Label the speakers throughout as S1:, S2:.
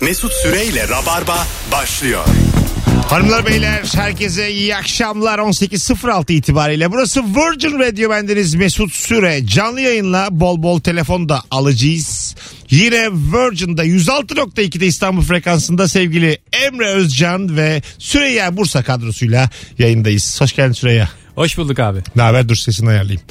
S1: Mesut Süreyle Rabarba başlıyor.
S2: Hanımlar beyler herkese iyi akşamlar 18.06 itibariyle burası Virgin Radio bendeniz Mesut Süre canlı yayınla bol bol telefon da alacağız. Yine Virgin'da 106.2'de İstanbul frekansında sevgili Emre Özcan ve Süreyya Bursa kadrosuyla yayındayız. Hoş geldin Süreyya.
S3: Hoş bulduk abi.
S2: Ne haber dur sesini ayarlayayım.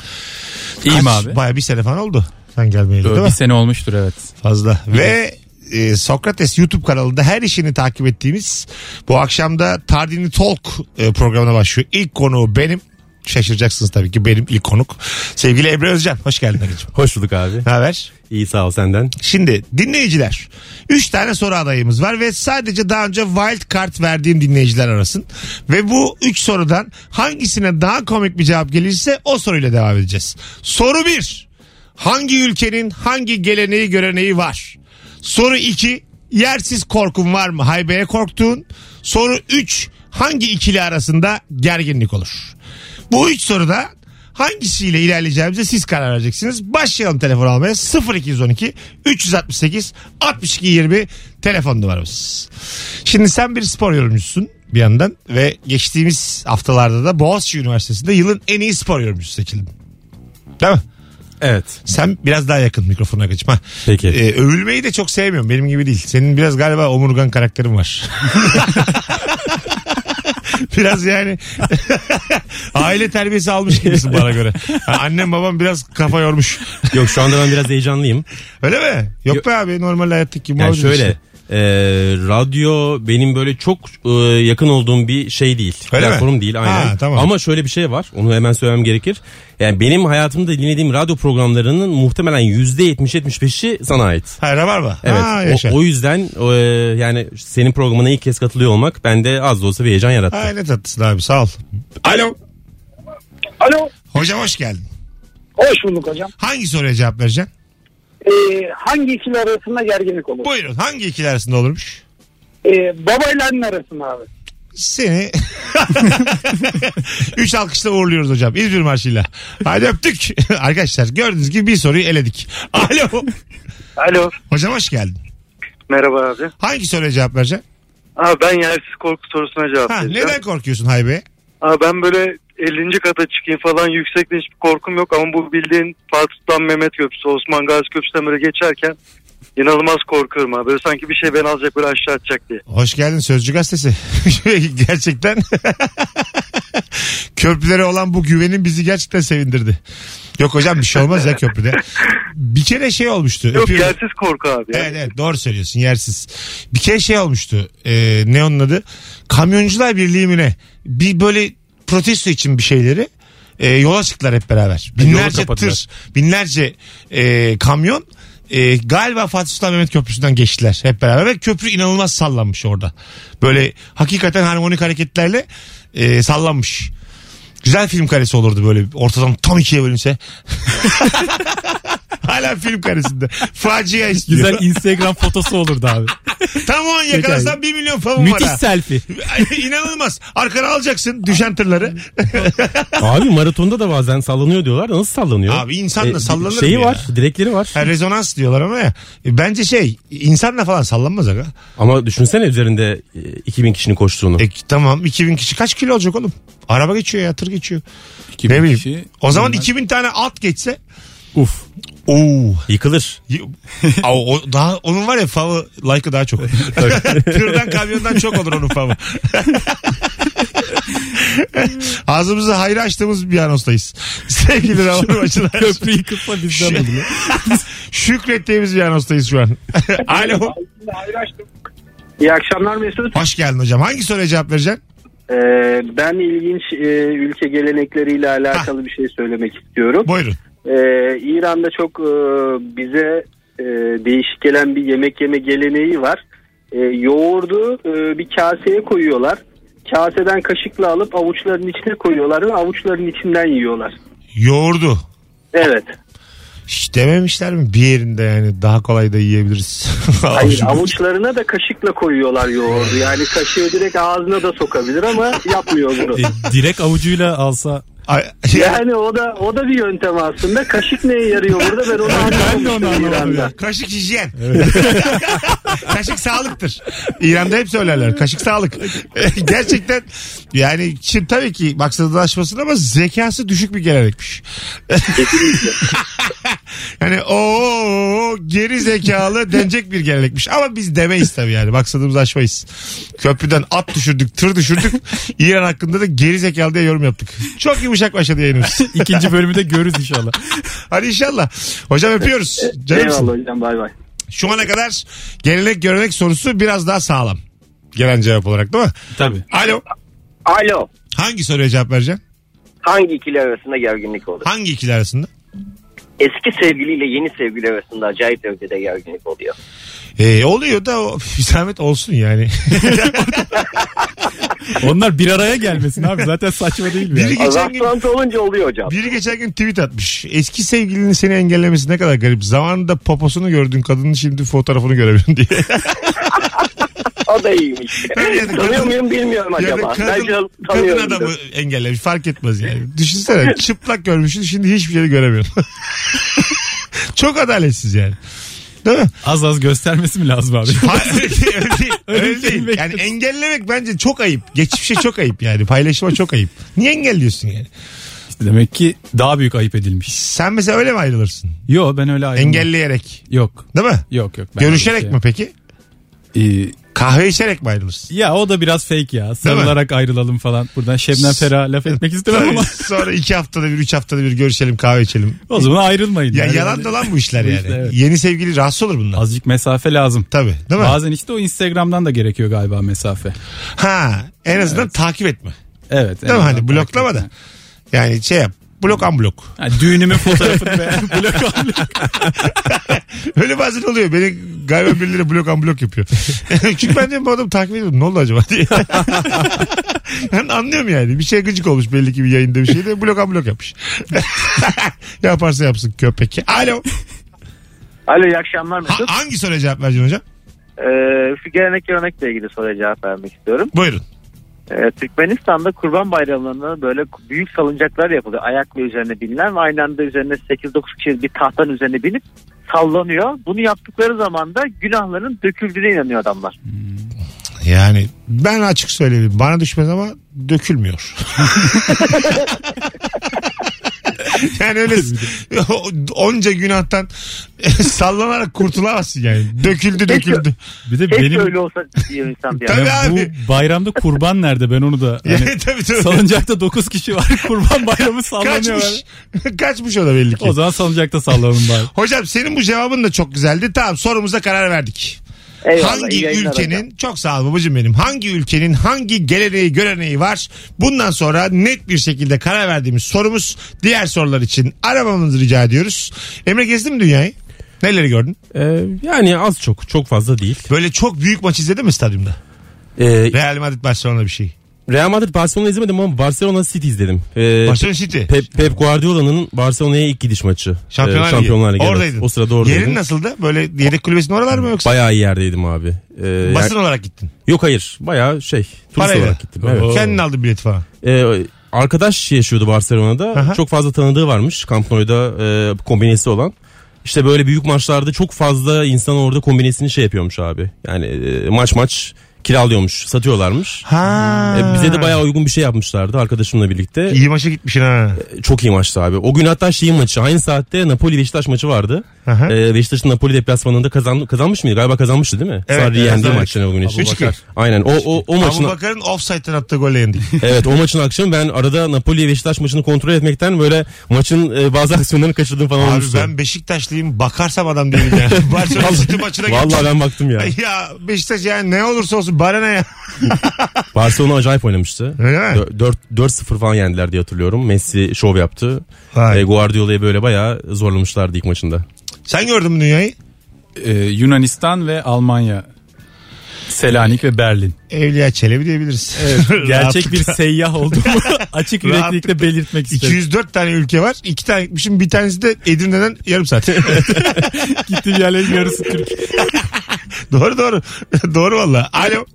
S3: İyiyim
S2: Kaç-
S3: abi.
S2: Baya bir sene falan oldu sen gelmeyeli değil
S3: Böyle bir
S2: mi?
S3: sene olmuştur evet.
S2: Fazla. Ve e, Sokrates YouTube kanalında her işini takip ettiğimiz bu akşamda Tardini Talk e, programına başlıyor. İlk konuğu benim. Şaşıracaksınız tabii ki benim ilk konuk. Sevgili Emre Özcan hoş geldin Ali'cim.
S4: Hoş bulduk abi.
S2: Ne haber?
S4: İyi sağ ol senden.
S2: Şimdi dinleyiciler. 3 tane soru adayımız var ve sadece daha önce wild card verdiğim dinleyiciler arasın. Ve bu 3 sorudan hangisine daha komik bir cevap gelirse o soruyla devam edeceğiz. Soru 1. Hangi ülkenin hangi geleneği göreneği var? Soru 2. Yersiz korkun var mı? Haybeye korktuğun. Soru 3. Hangi ikili arasında gerginlik olur? Bu 3 soruda Hangisiyle ilerleyeceğimize siz karar vereceksiniz. Başlayalım telefon almaya. 0212 368 62 20 telefon numaramız. Şimdi sen bir spor yorumcusun bir yandan ve geçtiğimiz haftalarda da Boğaziçi Üniversitesi'nde yılın en iyi spor yorumcusu seçildin. Değil mi?
S4: Evet.
S2: Sen biraz daha yakın mikrofonuna kaçıp. ha.
S4: Peki.
S2: Ee, övülmeyi de çok sevmiyorum. Benim gibi değil. Senin biraz galiba omurgan karakterin var. biraz yani aile terbiyesi almış gibisin bana göre. Ha, annem babam biraz kafa yormuş.
S4: Yok şu anda ben biraz heyecanlıyım.
S2: Öyle mi? Yok
S4: Yo-
S2: be abi normal hayattaki
S4: Yani
S2: muhabbet
S4: şöyle
S2: işte.
S4: e, radyo benim böyle çok e, yakın olduğum bir şey değil.
S2: Öyle mi?
S4: Platform değil aynen.
S2: Ha, tamam.
S4: Ama şöyle bir şey var. Onu hemen söylemem gerekir. Yani benim hayatımda dinlediğim radyo programlarının muhtemelen %70-75'i sana ait.
S2: Hayır var mı?
S4: Evet.
S2: Ha, yaşa.
S4: o, o yüzden e, yani senin programına ilk kez katılıyor olmak bende az da olsa bir heyecan yarattı.
S2: Ay ne tatlısın abi sağ ol. Alo.
S5: Alo.
S2: Hocam hoş geldin.
S5: Hoş bulduk hocam.
S2: Hangi soruya cevap vereceksin?
S5: Ee, hangi ikili arasında gerginlik olur?
S2: Buyurun hangi ikili arasında olurmuş?
S5: Ee, babayla anne arasında abi.
S2: Seni Üç alkışla uğurluyoruz hocam. İzmir Marşı'yla. Hadi öptük. Arkadaşlar gördüğünüz gibi bir soruyu eledik. Alo.
S6: Alo.
S2: Hocam hoş geldin.
S6: Merhaba abi.
S2: Hangi soruya cevap vereceksin?
S6: Abi ben yersiz korku sorusuna cevap
S2: Ha,
S6: vereceğim.
S2: neden korkuyorsun Haybe?
S6: Abi ben böyle 50. kata çıkayım falan yüksekten hiçbir korkum yok ama bu bildiğin Fatih Sultan Mehmet Köprüsü, Osman Gazi Köprüsü'nden böyle geçerken inanılmaz korkuyorum abi. Böyle sanki bir şey beni alacak böyle aşağı atacak diye.
S2: Hoş geldin Sözcü Gazetesi. gerçekten köprülere olan bu güvenin bizi gerçekten sevindirdi. Yok hocam bir şey olmaz ya köprüde. Bir kere şey olmuştu.
S6: Yok
S2: Öpüyorum.
S6: yersiz korku abi. ya.
S2: Evet evet doğru söylüyorsun yersiz. Bir kere şey olmuştu e, ne onun adı kamyoncular birliği mi ne? bir böyle protesto için bir şeyleri e, yola çıktılar hep beraber.
S4: yolu
S2: Binlerce
S4: kapadılar.
S2: tır binlerce e, kamyon e, galiba Fatih Sultan Mehmet Köprüsü'nden geçtiler hep beraber ve köprü inanılmaz sallanmış orada. Böyle hakikaten harmonik hareketlerle e, sallanmış. Güzel film karesi olurdu böyle ortadan tam ikiye bölünse. Hala film karesinde. Facia istiyor.
S3: Güzel Instagram fotosu olurdu abi.
S2: Tam o an yakalasam 1 milyon favum var
S3: Müthiş
S2: ha.
S3: selfie.
S2: İnanılmaz. Arkana alacaksın düşen tırları.
S4: Abi maratonda da bazen sallanıyor diyorlar. da Nasıl sallanıyor?
S2: Abi insanla
S4: E,
S2: sallanır
S4: Şeyi
S2: mı ya?
S4: var, direkleri var.
S2: Ha, E, rezonans diyorlar ama ya. E, Bence şey insanla falan sallanmaz aga.
S4: Ama düşünsene üzerinde e, 2000 kişinin koştuğunu.
S2: E, tamam 2000 kişi kaç kilo olacak oğlum? Araba geçiyor ya tır geçiyor. ne bileyim. o zaman 2000 tane at geçse.
S4: Uf.
S2: Oo.
S4: Yıkılır.
S2: Y- Aa, o, daha onun var ya favı like'ı daha çok. Tırdan kamyondan çok olur onun favı. Ağzımızı hayra açtığımız bir anonstayız. Sevgili Rabarbacılar.
S3: Köprü yıkılsa bizden olur.
S2: Şükrettiğimiz bir anonstayız şu an. Alo.
S7: İyi akşamlar Mesut.
S2: Hoş geldin hocam. Hangi soruya cevap vereceksin?
S7: Ee, ben ilginç e, ülke gelenekleriyle alakalı bir şey söylemek istiyorum.
S2: Buyurun.
S7: Ee, İran'da çok e, bize e, değişik gelen bir yemek yeme geleneği var. E, yoğurdu e, bir kaseye koyuyorlar. Kaseden kaşıkla alıp avuçların içine koyuyorlar ve avuçların içinden yiyorlar.
S2: Yoğurdu.
S7: Evet.
S2: Hiç dememişler mi? Bir yerinde yani daha kolay da yiyebiliriz.
S7: Hayır avuçlarına da kaşıkla koyuyorlar yoğurdu. Yani kaşığı direkt ağzına da sokabilir ama yapmıyor bunu.
S3: Direkt avucuyla alsa
S2: Ay-
S7: Yani o da o da bir yöntem aslında. Kaşık neye yarıyor burada ben onu
S3: Ben de onu
S7: anlamamıştım
S3: anlamadım
S7: İran'da.
S3: ya.
S2: Kaşık hijyen. kaşık sağlıktır. İran'da hep söylerler. Kaşık sağlık. Gerçekten yani şimdi tabii ki maksadılaşmasın ama zekası düşük bir gelenekmiş. yani o geri zekalı denecek bir gelenekmiş. Ama biz demeyiz tabii yani. Maksadımızı aşmayız. Köprüden at düşürdük, tır düşürdük. İran hakkında da geri zekalı diye yorum yaptık. Çok yumuşak başladı yayınımız.
S3: İkinci bölümü de görürüz inşallah.
S2: Hadi inşallah. Hocam öpüyoruz. Canımsın.
S7: Eyvallah hocam bay bay.
S2: Şu ana kadar gelenek görenek sorusu biraz daha sağlam. Gelen cevap olarak değil mi?
S3: Tabii.
S2: Alo.
S8: Alo.
S2: Hangi soruya cevap vereceksin?
S8: Hangi ikili arasında gerginlik olur?
S2: Hangi ikili arasında?
S8: Eski sevgiliyle yeni sevgili arasında acayip derecede gerginlik oluyor.
S2: Ee, oluyor da o, bir zahmet olsun yani.
S3: Onlar bir araya gelmesin abi. Zaten saçma değil mi?
S2: biri,
S3: Yani?
S2: geçen gün,
S8: Rastlantı olunca oluyor hocam.
S2: biri geçen gün tweet atmış. Eski sevgilinin seni engellemesi ne kadar garip. Zamanında poposunu gördüğün kadının şimdi fotoğrafını göremiyorsun diye.
S8: O da iyiymiş.
S2: Tabii yani
S8: Tanıyor
S2: kadın-
S8: muyum bilmiyorum
S2: Ya da
S8: acaba.
S2: kadın,
S8: Bence
S2: kadın
S8: tanıyorum.
S2: adamı engellemiş fark etmez yani. Düşünsene çıplak görmüşsün şimdi hiçbir şey göremiyorsun. Çok adaletsiz yani. Değil mi?
S3: Az az göstermesi mi lazım abi?
S2: Hayır öyle değil. Öyle değil.
S3: Öyle
S2: Öyle
S3: değil.
S2: değil. Yani engellemek bence çok ayıp. Geçmişe çok ayıp yani. Paylaşıma çok ayıp. Niye engelliyorsun yani?
S3: Demek ki daha büyük ayıp edilmiş.
S2: Sen mesela öyle mi ayrılırsın?
S3: Yo ben öyle ayrılmam.
S2: Engelleyerek.
S3: Yok.
S2: Değil mi?
S3: Yok yok. ben şey-
S2: Görüşerek
S3: öyle
S2: mi peki?
S3: şey- Ee,
S2: Kahve içerek mi ayrılırsın?
S3: ya o da biraz fake ya. Sarılarak ayrılalım falan. Buradan Şebnem Ferah laf etmek istemem ama.
S2: Sonra iki haftada bir, üç haftada bir görüşelim kahve içelim.
S3: O zaman ayrılmayın.
S2: Ya
S3: Yani
S2: yalan
S3: böyle-
S2: da lan bu işler
S3: Bu
S2: yani.
S3: işler, evet.
S2: Yeni sevgili rahatsız olur bundan.
S3: Azıcık mesafe lazım.
S2: Tabii değil mi?
S3: Bazen işte o Instagram'dan da gerekiyor galiba mesafe.
S2: Ha en azından takip etme.
S3: Evet.
S2: Değil mi? Hani bloklama da. Yani şey yap. Blok an blok.
S3: Yani düğünümün fotoğrafını beğen, blok al.
S2: Öyle bazen oluyor. Beni galiba birileri blok an blok yapıyor. Çünkü ben diyorum bu adamı takip ediyorum. Ne oldu acaba diye. ben anlıyorum yani. Bir şey gıcık olmuş belli ki bir yayında bir şey de blok an blok yapmış. Yaparsa yapsın köpek. Alo.
S8: Alo iyi akşamlar
S2: Ha- hangi soruya cevap vereceksin hocam?
S8: Ee, şu gelenek görenekle ilgili soruya cevap vermek istiyorum.
S2: Buyurun.
S8: Ee, Türkmenistan'da kurban bayramlarında böyle büyük salıncaklar yapılıyor. Ayakla üzerine binilen ve aynı anda üzerine 8-9 kişi bir tahtanın üzerine binip sallanıyor. Bunu yaptıkları zaman da günahların döküldüğüne inanıyor adamlar.
S2: Yani ben açık söyleyeyim. Bana düşmez ama dökülmüyor. yani öyle onca günahtan sallanarak kurtulamazsın yani. Döküldü döküldü.
S3: Bir de
S8: Keşke
S3: benim
S8: öyle olsa diyor insan bir
S2: Tabii
S8: an.
S3: Ya
S2: abi.
S3: bu bayramda kurban nerede ben onu da hani
S2: Yani, tabii tabii.
S3: salıncakta 9 kişi var kurban bayramı sallanıyor.
S2: Kaçmış. Kaçmış o da belli ki.
S3: O zaman salıncakta sallanalım bari.
S2: Hocam senin bu cevabın da çok güzeldi. Tamam sorumuza karar verdik.
S8: Eyvallah, iyi
S2: hangi
S8: yayınlar
S2: ülkenin
S8: hocam.
S2: çok sağ ol babacığım benim. Hangi ülkenin hangi geleneği göreneği var? Bundan sonra net bir şekilde karar verdiğimiz sorumuz diğer sorular için aramamızı rica ediyoruz. Emre gezdin mi dünyayı? Neleri gördün?
S4: Ee, yani az çok. Çok fazla değil.
S2: Böyle çok büyük maç izledin mi stadyumda?
S4: Ee,
S2: Real Madrid Barcelona bir şey.
S4: Real Madrid Barcelona izlemedim ama Barcelona City izledim. Ee,
S2: Barcelona City.
S4: Pep, Pep Guardiola'nın Barcelona'ya ilk gidiş maçı.
S2: Şampiyonlar,
S4: Ee,
S2: Ligi.
S4: Şampiyonlar Ligi. evet.
S2: Oradaydın.
S4: O sırada oradaydım.
S2: Yerin nasıldı? Böyle yedek kulübesinin oralar mı yoksa?
S4: Bayağı iyi yerdeydim abi. Ee, yani-
S2: Basın olarak gittin.
S4: yok hayır. Bayağı şey. Turist
S2: Parayla.
S4: olarak gittim. Evet.
S2: Kendin aldın bilet falan.
S4: Ee, arkadaş yaşıyordu Barcelona'da.
S2: Aha.
S4: Çok fazla tanıdığı varmış. Camp Nou'da e, kombinesi olan. İşte böyle büyük maçlarda çok fazla insan orada kombinesini şey yapıyormuş abi. Yani e, maç maç kiralıyormuş, satıyorlarmış.
S2: Ha.
S4: E, bize de bayağı uygun bir şey yapmışlardı arkadaşımla birlikte. E,
S2: İyi maça gitmişsin ha.
S4: Çok iyi maçtı abi. O gün hatta şeyin maçı aynı saatte Napoli Beşiktaş maçı vardı.
S2: Aha.
S4: Ee, Beşiktaş'ın Napoli deplasmanında kazan, kazanmış mıydı? Galiba kazanmıştı değil mi?
S2: Evet,
S4: Sarri
S2: evet,
S4: yendiği
S2: evet.
S4: maç yani o gün için.
S2: Abubakar.
S4: Aynen. O o o maçın
S2: Abu Bakar'ın offside'den attığı golle yendik.
S4: evet o maçın akşamı ben arada Napoli Beşiktaş maçını kontrol etmekten böyle maçın e, bazı aksiyonlarını kaçırdığım falan
S2: Abi
S4: olmuştu.
S2: ben Beşiktaşlıyım bakarsam adam değilim yani. Barcelona City maçına
S4: Vallahi
S2: gittim.
S4: ben baktım ya.
S2: Ya Beşiktaş yani ne olursa olsun bana ne ya.
S4: Barcelona acayip oynamıştı.
S2: Öyle mi?
S4: Dö- dört- 4-0 falan yendiler diye hatırlıyorum. Messi şov yaptı.
S2: Vay.
S4: E, Guardiola'yı böyle bayağı zorlamışlardı ilk maçında.
S2: Sen gördün mü dünyayı?
S3: Ee, Yunanistan ve Almanya. Selanik ve Berlin.
S2: Evliya Çelebi diyebiliriz.
S3: Gerçek bir seyyah olduğumu açık yüreklilikle
S2: Rahatlıkla.
S3: belirtmek istedim.
S2: 204 tane ülke var. İki tane gitmişim. Bir tanesi de Edirne'den yarım saat.
S3: Gittiğim yerlerin yarısı Türk.
S2: doğru doğru. doğru valla. Alo.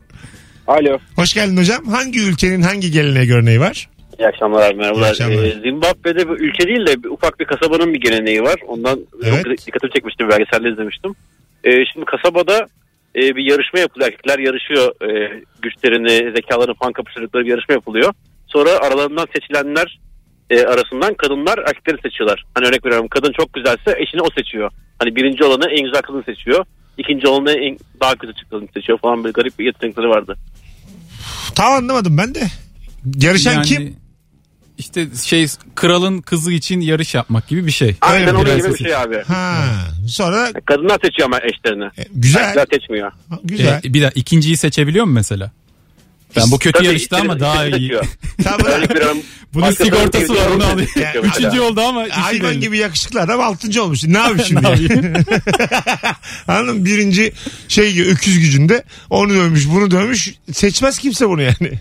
S7: Alo.
S2: Hoş geldin hocam. Hangi ülkenin hangi geleneği görneği var?
S7: İyi akşamlar abi merhabalar.
S2: İyi akşamlar.
S7: Ee, Zimbabwe'de bu ülke değil de bir- ufak bir kasabanın bir geleneği var. Ondan
S2: Evet.
S7: çok dikkatimi çekmişti belgeselde izlemiştim. Ee, şimdi kasabada e, bir yarışma yapılıyor. Erkekler yarışıyor. Ee, güçlerini, zekalarını falan kapıştırdıkları bir yarışma yapılıyor. Sonra aralarından seçilenler e, arasından kadınlar erkekleri seçiyorlar. Hani örnek veriyorum kadın çok güzelse eşini o seçiyor. Hani birinci olanı en güzel kadın seçiyor. İkinci olanı en daha kötü kadın seçiyor falan böyle garip bir yetenekleri vardı.
S2: Tam anlamadım ben de. Yarışan
S3: Yani
S2: kim?
S3: İşte şey kralın kızı için yarış yapmak gibi bir şey.
S2: Öyle
S7: Aynen
S2: mi?
S7: onun gibi
S3: Prensesi.
S7: bir şey abi.
S2: Ha. Sonra
S7: Kadınlar seçiyor ama eşlerini.
S2: e, güzel.
S7: Erkekler seçmiyor.
S2: Güzel.
S3: Ee, bir daha ikinciyi seçebiliyor mu mesela? Ben bu kötü
S7: Tabii
S3: yarıştı ama
S7: ikisini-
S3: daha
S7: ikisini
S3: iyi.
S7: seçiyor.
S2: Tamam.
S7: Örnek veriyorum.
S3: Bunun
S7: başka
S3: sigortası
S7: bir
S3: var onu
S7: ülkede
S3: alayım.
S7: seçiyor mesela.
S3: Üçüncü oldu ama işi
S2: Hayvan
S3: belli.
S2: gibi yakışıklı adam altıncı olmuş. Ne yapayım şimdi? yani? Anladın mı? Birinci şey gibi, öküz gücünde onu dövmüş bunu dövmüş. Seçmez kimse bunu yani.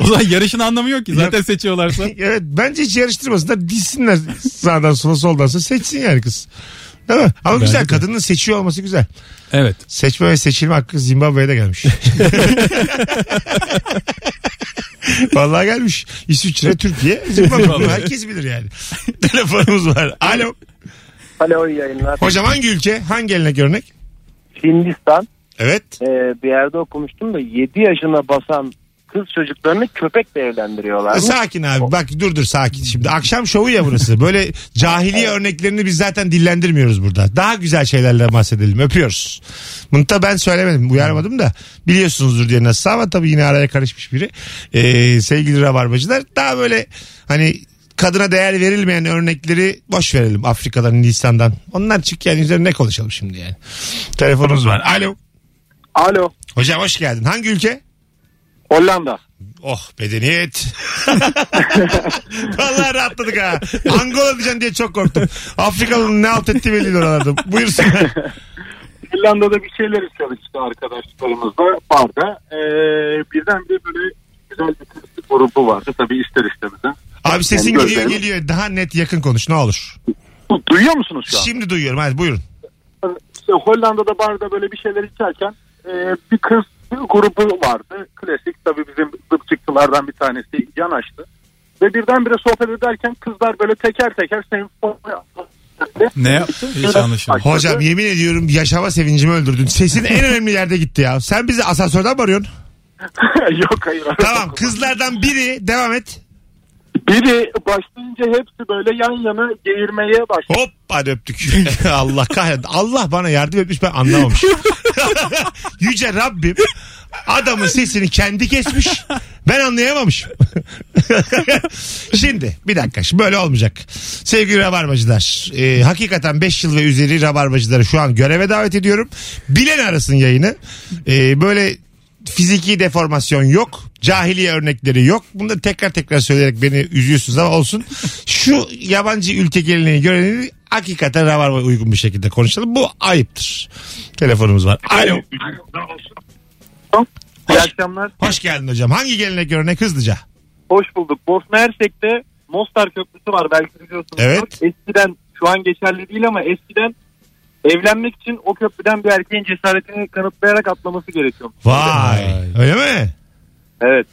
S3: O zaman yarışın anlamı yok ki. Zaten seçiyorlarsa.
S2: evet bence hiç yarıştırmasınlar. Dilsinler sağdan sola soldan sonra seçsin yani kız. Değil mi? Ama
S3: Bence
S2: güzel
S3: de.
S2: kadının seçiyor olması güzel.
S3: Evet.
S2: Seçme ve seçilme hakkı Zimbabwe'ye de gelmiş. Vallahi gelmiş. İsviçre, Türkiye, Zimbabwe. Herkes bilir yani. Telefonumuz var. Alo.
S8: Alo iyi yayınlar.
S2: Hocam hangi ülke? Hangi eline örnek?
S8: Hindistan
S2: Evet.
S8: e, bir yerde okumuştum da 7 yaşına basan kız çocuklarını köpekle
S9: Ee,
S8: evlendiriyorlar.
S2: Sakin abi. Bak dur dur sakin. Şimdi akşam şovu ya burası. Böyle cahiliye örneklerini biz zaten dillendirmiyoruz burada. Daha güzel şeylerle bahsedelim. Öpüyoruz. Bunu da ben söylemedim. Uyarmadım da. Biliyorsunuzdur diye nasıl ama tabii yine araya karışmış biri. Ee, sevgili rabarbacılar. Daha böyle hani kadına değer verilmeyen örnekleri boş verelim. Afrika'dan, Hindistan'dan. Onlar çık yani üzerine ne konuşalım şimdi yani. Telefonumuz var. Alo.
S8: Alo
S2: Hocam hoş geldin. Hangi ülke?
S8: Hollanda.
S2: Oh bedeniyet. Vallahi rahatladık ha. Angola diyeceksin diye çok korktum. Afrikalı'nın ne alt ettiği belli değil oralarda. Buyursun.
S5: İrlanda'da bir şeyler içiyoruz işte arkadaşlarımızla barda. Ee, birdenbire böyle güzel bir turistik grubu vardı. Tabii ister istemeden.
S2: Abi sesin
S5: Yani
S2: geliyor
S5: gözlerim-
S2: geliyor. Daha net yakın konuş ne olur.
S5: Bu- Duyuyor musunuz şu an?
S2: Şimdi duyuyorum hadi buyurun.
S5: İşte Hollanda'da barda böyle bir şeyler içerken e, bir kız grubu vardı. Klasik tabii bizim zıpçıktılardan bir tanesi yanaştı. Ve birdenbire sohbet ederken kızlar böyle teker teker şey, senfoni
S3: Ne yap- Hiç anlaşılmıyor.
S2: Hocam yemin ediyorum yaşama sevincimi öldürdün. Sesin en önemli yerde gitti ya. Sen bizi asansörden mi arıyorsun?
S5: Yok hayır.
S2: Tamam kızlardan biri devam et.
S5: Biri başlayınca hepsi böyle yan yana geğirmeye başladı.
S2: Hop hadi öptük. Allah kahretsin. Allah bana yardım etmiş ben anlamamışım. Yüce Rabbim adamın sesini kendi kesmiş. Ben anlayamamışım. Şimdi bir dakika şimdi böyle olmayacak. Sevgili Rabarbacılar e, hakikaten 5 yıl ve üzeri Rabarbacıları şu an göreve davet ediyorum. Bilen arasın yayını. E, böyle fiziki deformasyon yok. Cahiliye örnekleri yok. Bunları tekrar tekrar söyleyerek beni üzüyorsunuz ama olsun. Şu yabancı ülke geleneği göreni hakikaten rabarba uygun bir şekilde konuşalım. Bu ayıptır. Telefonumuz var. Alo.
S8: İyi akşamlar.
S2: Hoş geldin hocam. Hangi gelenek örnek hızlıca?
S8: Hoş bulduk. Bosna Hersek'te Mostar Köprüsü var belki biliyorsunuz.
S2: Evet.
S8: Eskiden şu an geçerli değil ama eskiden evlenmek için o köprüden bir erkeğin cesaretini kanıtlayarak atlaması gerekiyor.
S2: Vay. Öyle mi?
S8: Evet.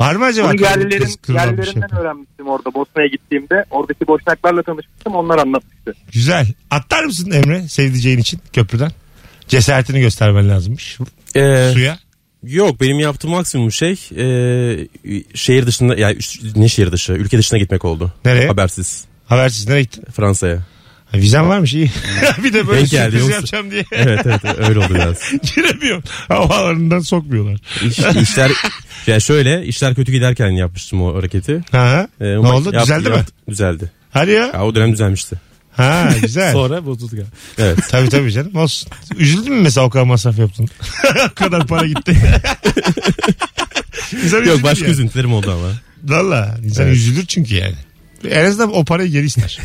S2: Var mı acaba?
S8: Bunu
S2: kırıl-
S8: yerlilerin,
S2: kız kırılan bir şey
S8: yerlilerinden
S2: yapan?
S8: öğrenmiştim orada Bosna'ya gittiğimde. Oradaki boşnaklarla tanışmıştım onlar anlatmıştı.
S2: Güzel. Atlar mısın Emre sevdiceğin için köprüden? Cesaretini göstermen lazımmış.
S4: Ee,
S2: Suya.
S4: Yok benim yaptığım maksimum şey e, şehir dışında ya üst- ne şehir dışı ülke dışına gitmek oldu.
S2: Nereye?
S4: Habersiz
S2: Habersiz nereye gittin?
S4: Fransa'ya.
S2: Ha, Vizen varmış iyi. bir de böyle
S4: Denk geldi,
S2: sürpriz
S4: yoksa-
S2: yapacağım diye.
S4: Evet evet evet, öyle oldu biraz.
S2: Giremiyorum. Havalarından sokmuyorlar.
S4: İş, işler yani şöyle işler kötü giderken yapmıştım o hareketi.
S2: Ha?
S4: Ee,
S2: ne
S4: ma-
S2: oldu?
S4: yap-
S2: Düzeldi mi?
S4: yap- Düzeldi.
S2: Hadi ya.
S4: Ya, o dönem düzelmişti.
S2: Ha güzel.
S3: Sonra bozuldu galiba.
S4: Evet.
S2: Tabii tabii canım olsun. Üzüldün mü mesela o kadar masraf yaptın? o kadar para gitti. İnsan
S4: Yok
S2: üzülür
S4: başka
S2: ya.
S4: üzüntülerim oldu ama.
S2: Valla insan
S4: Evet.
S2: üzülür çünkü yani. En azından o parayı geri ister.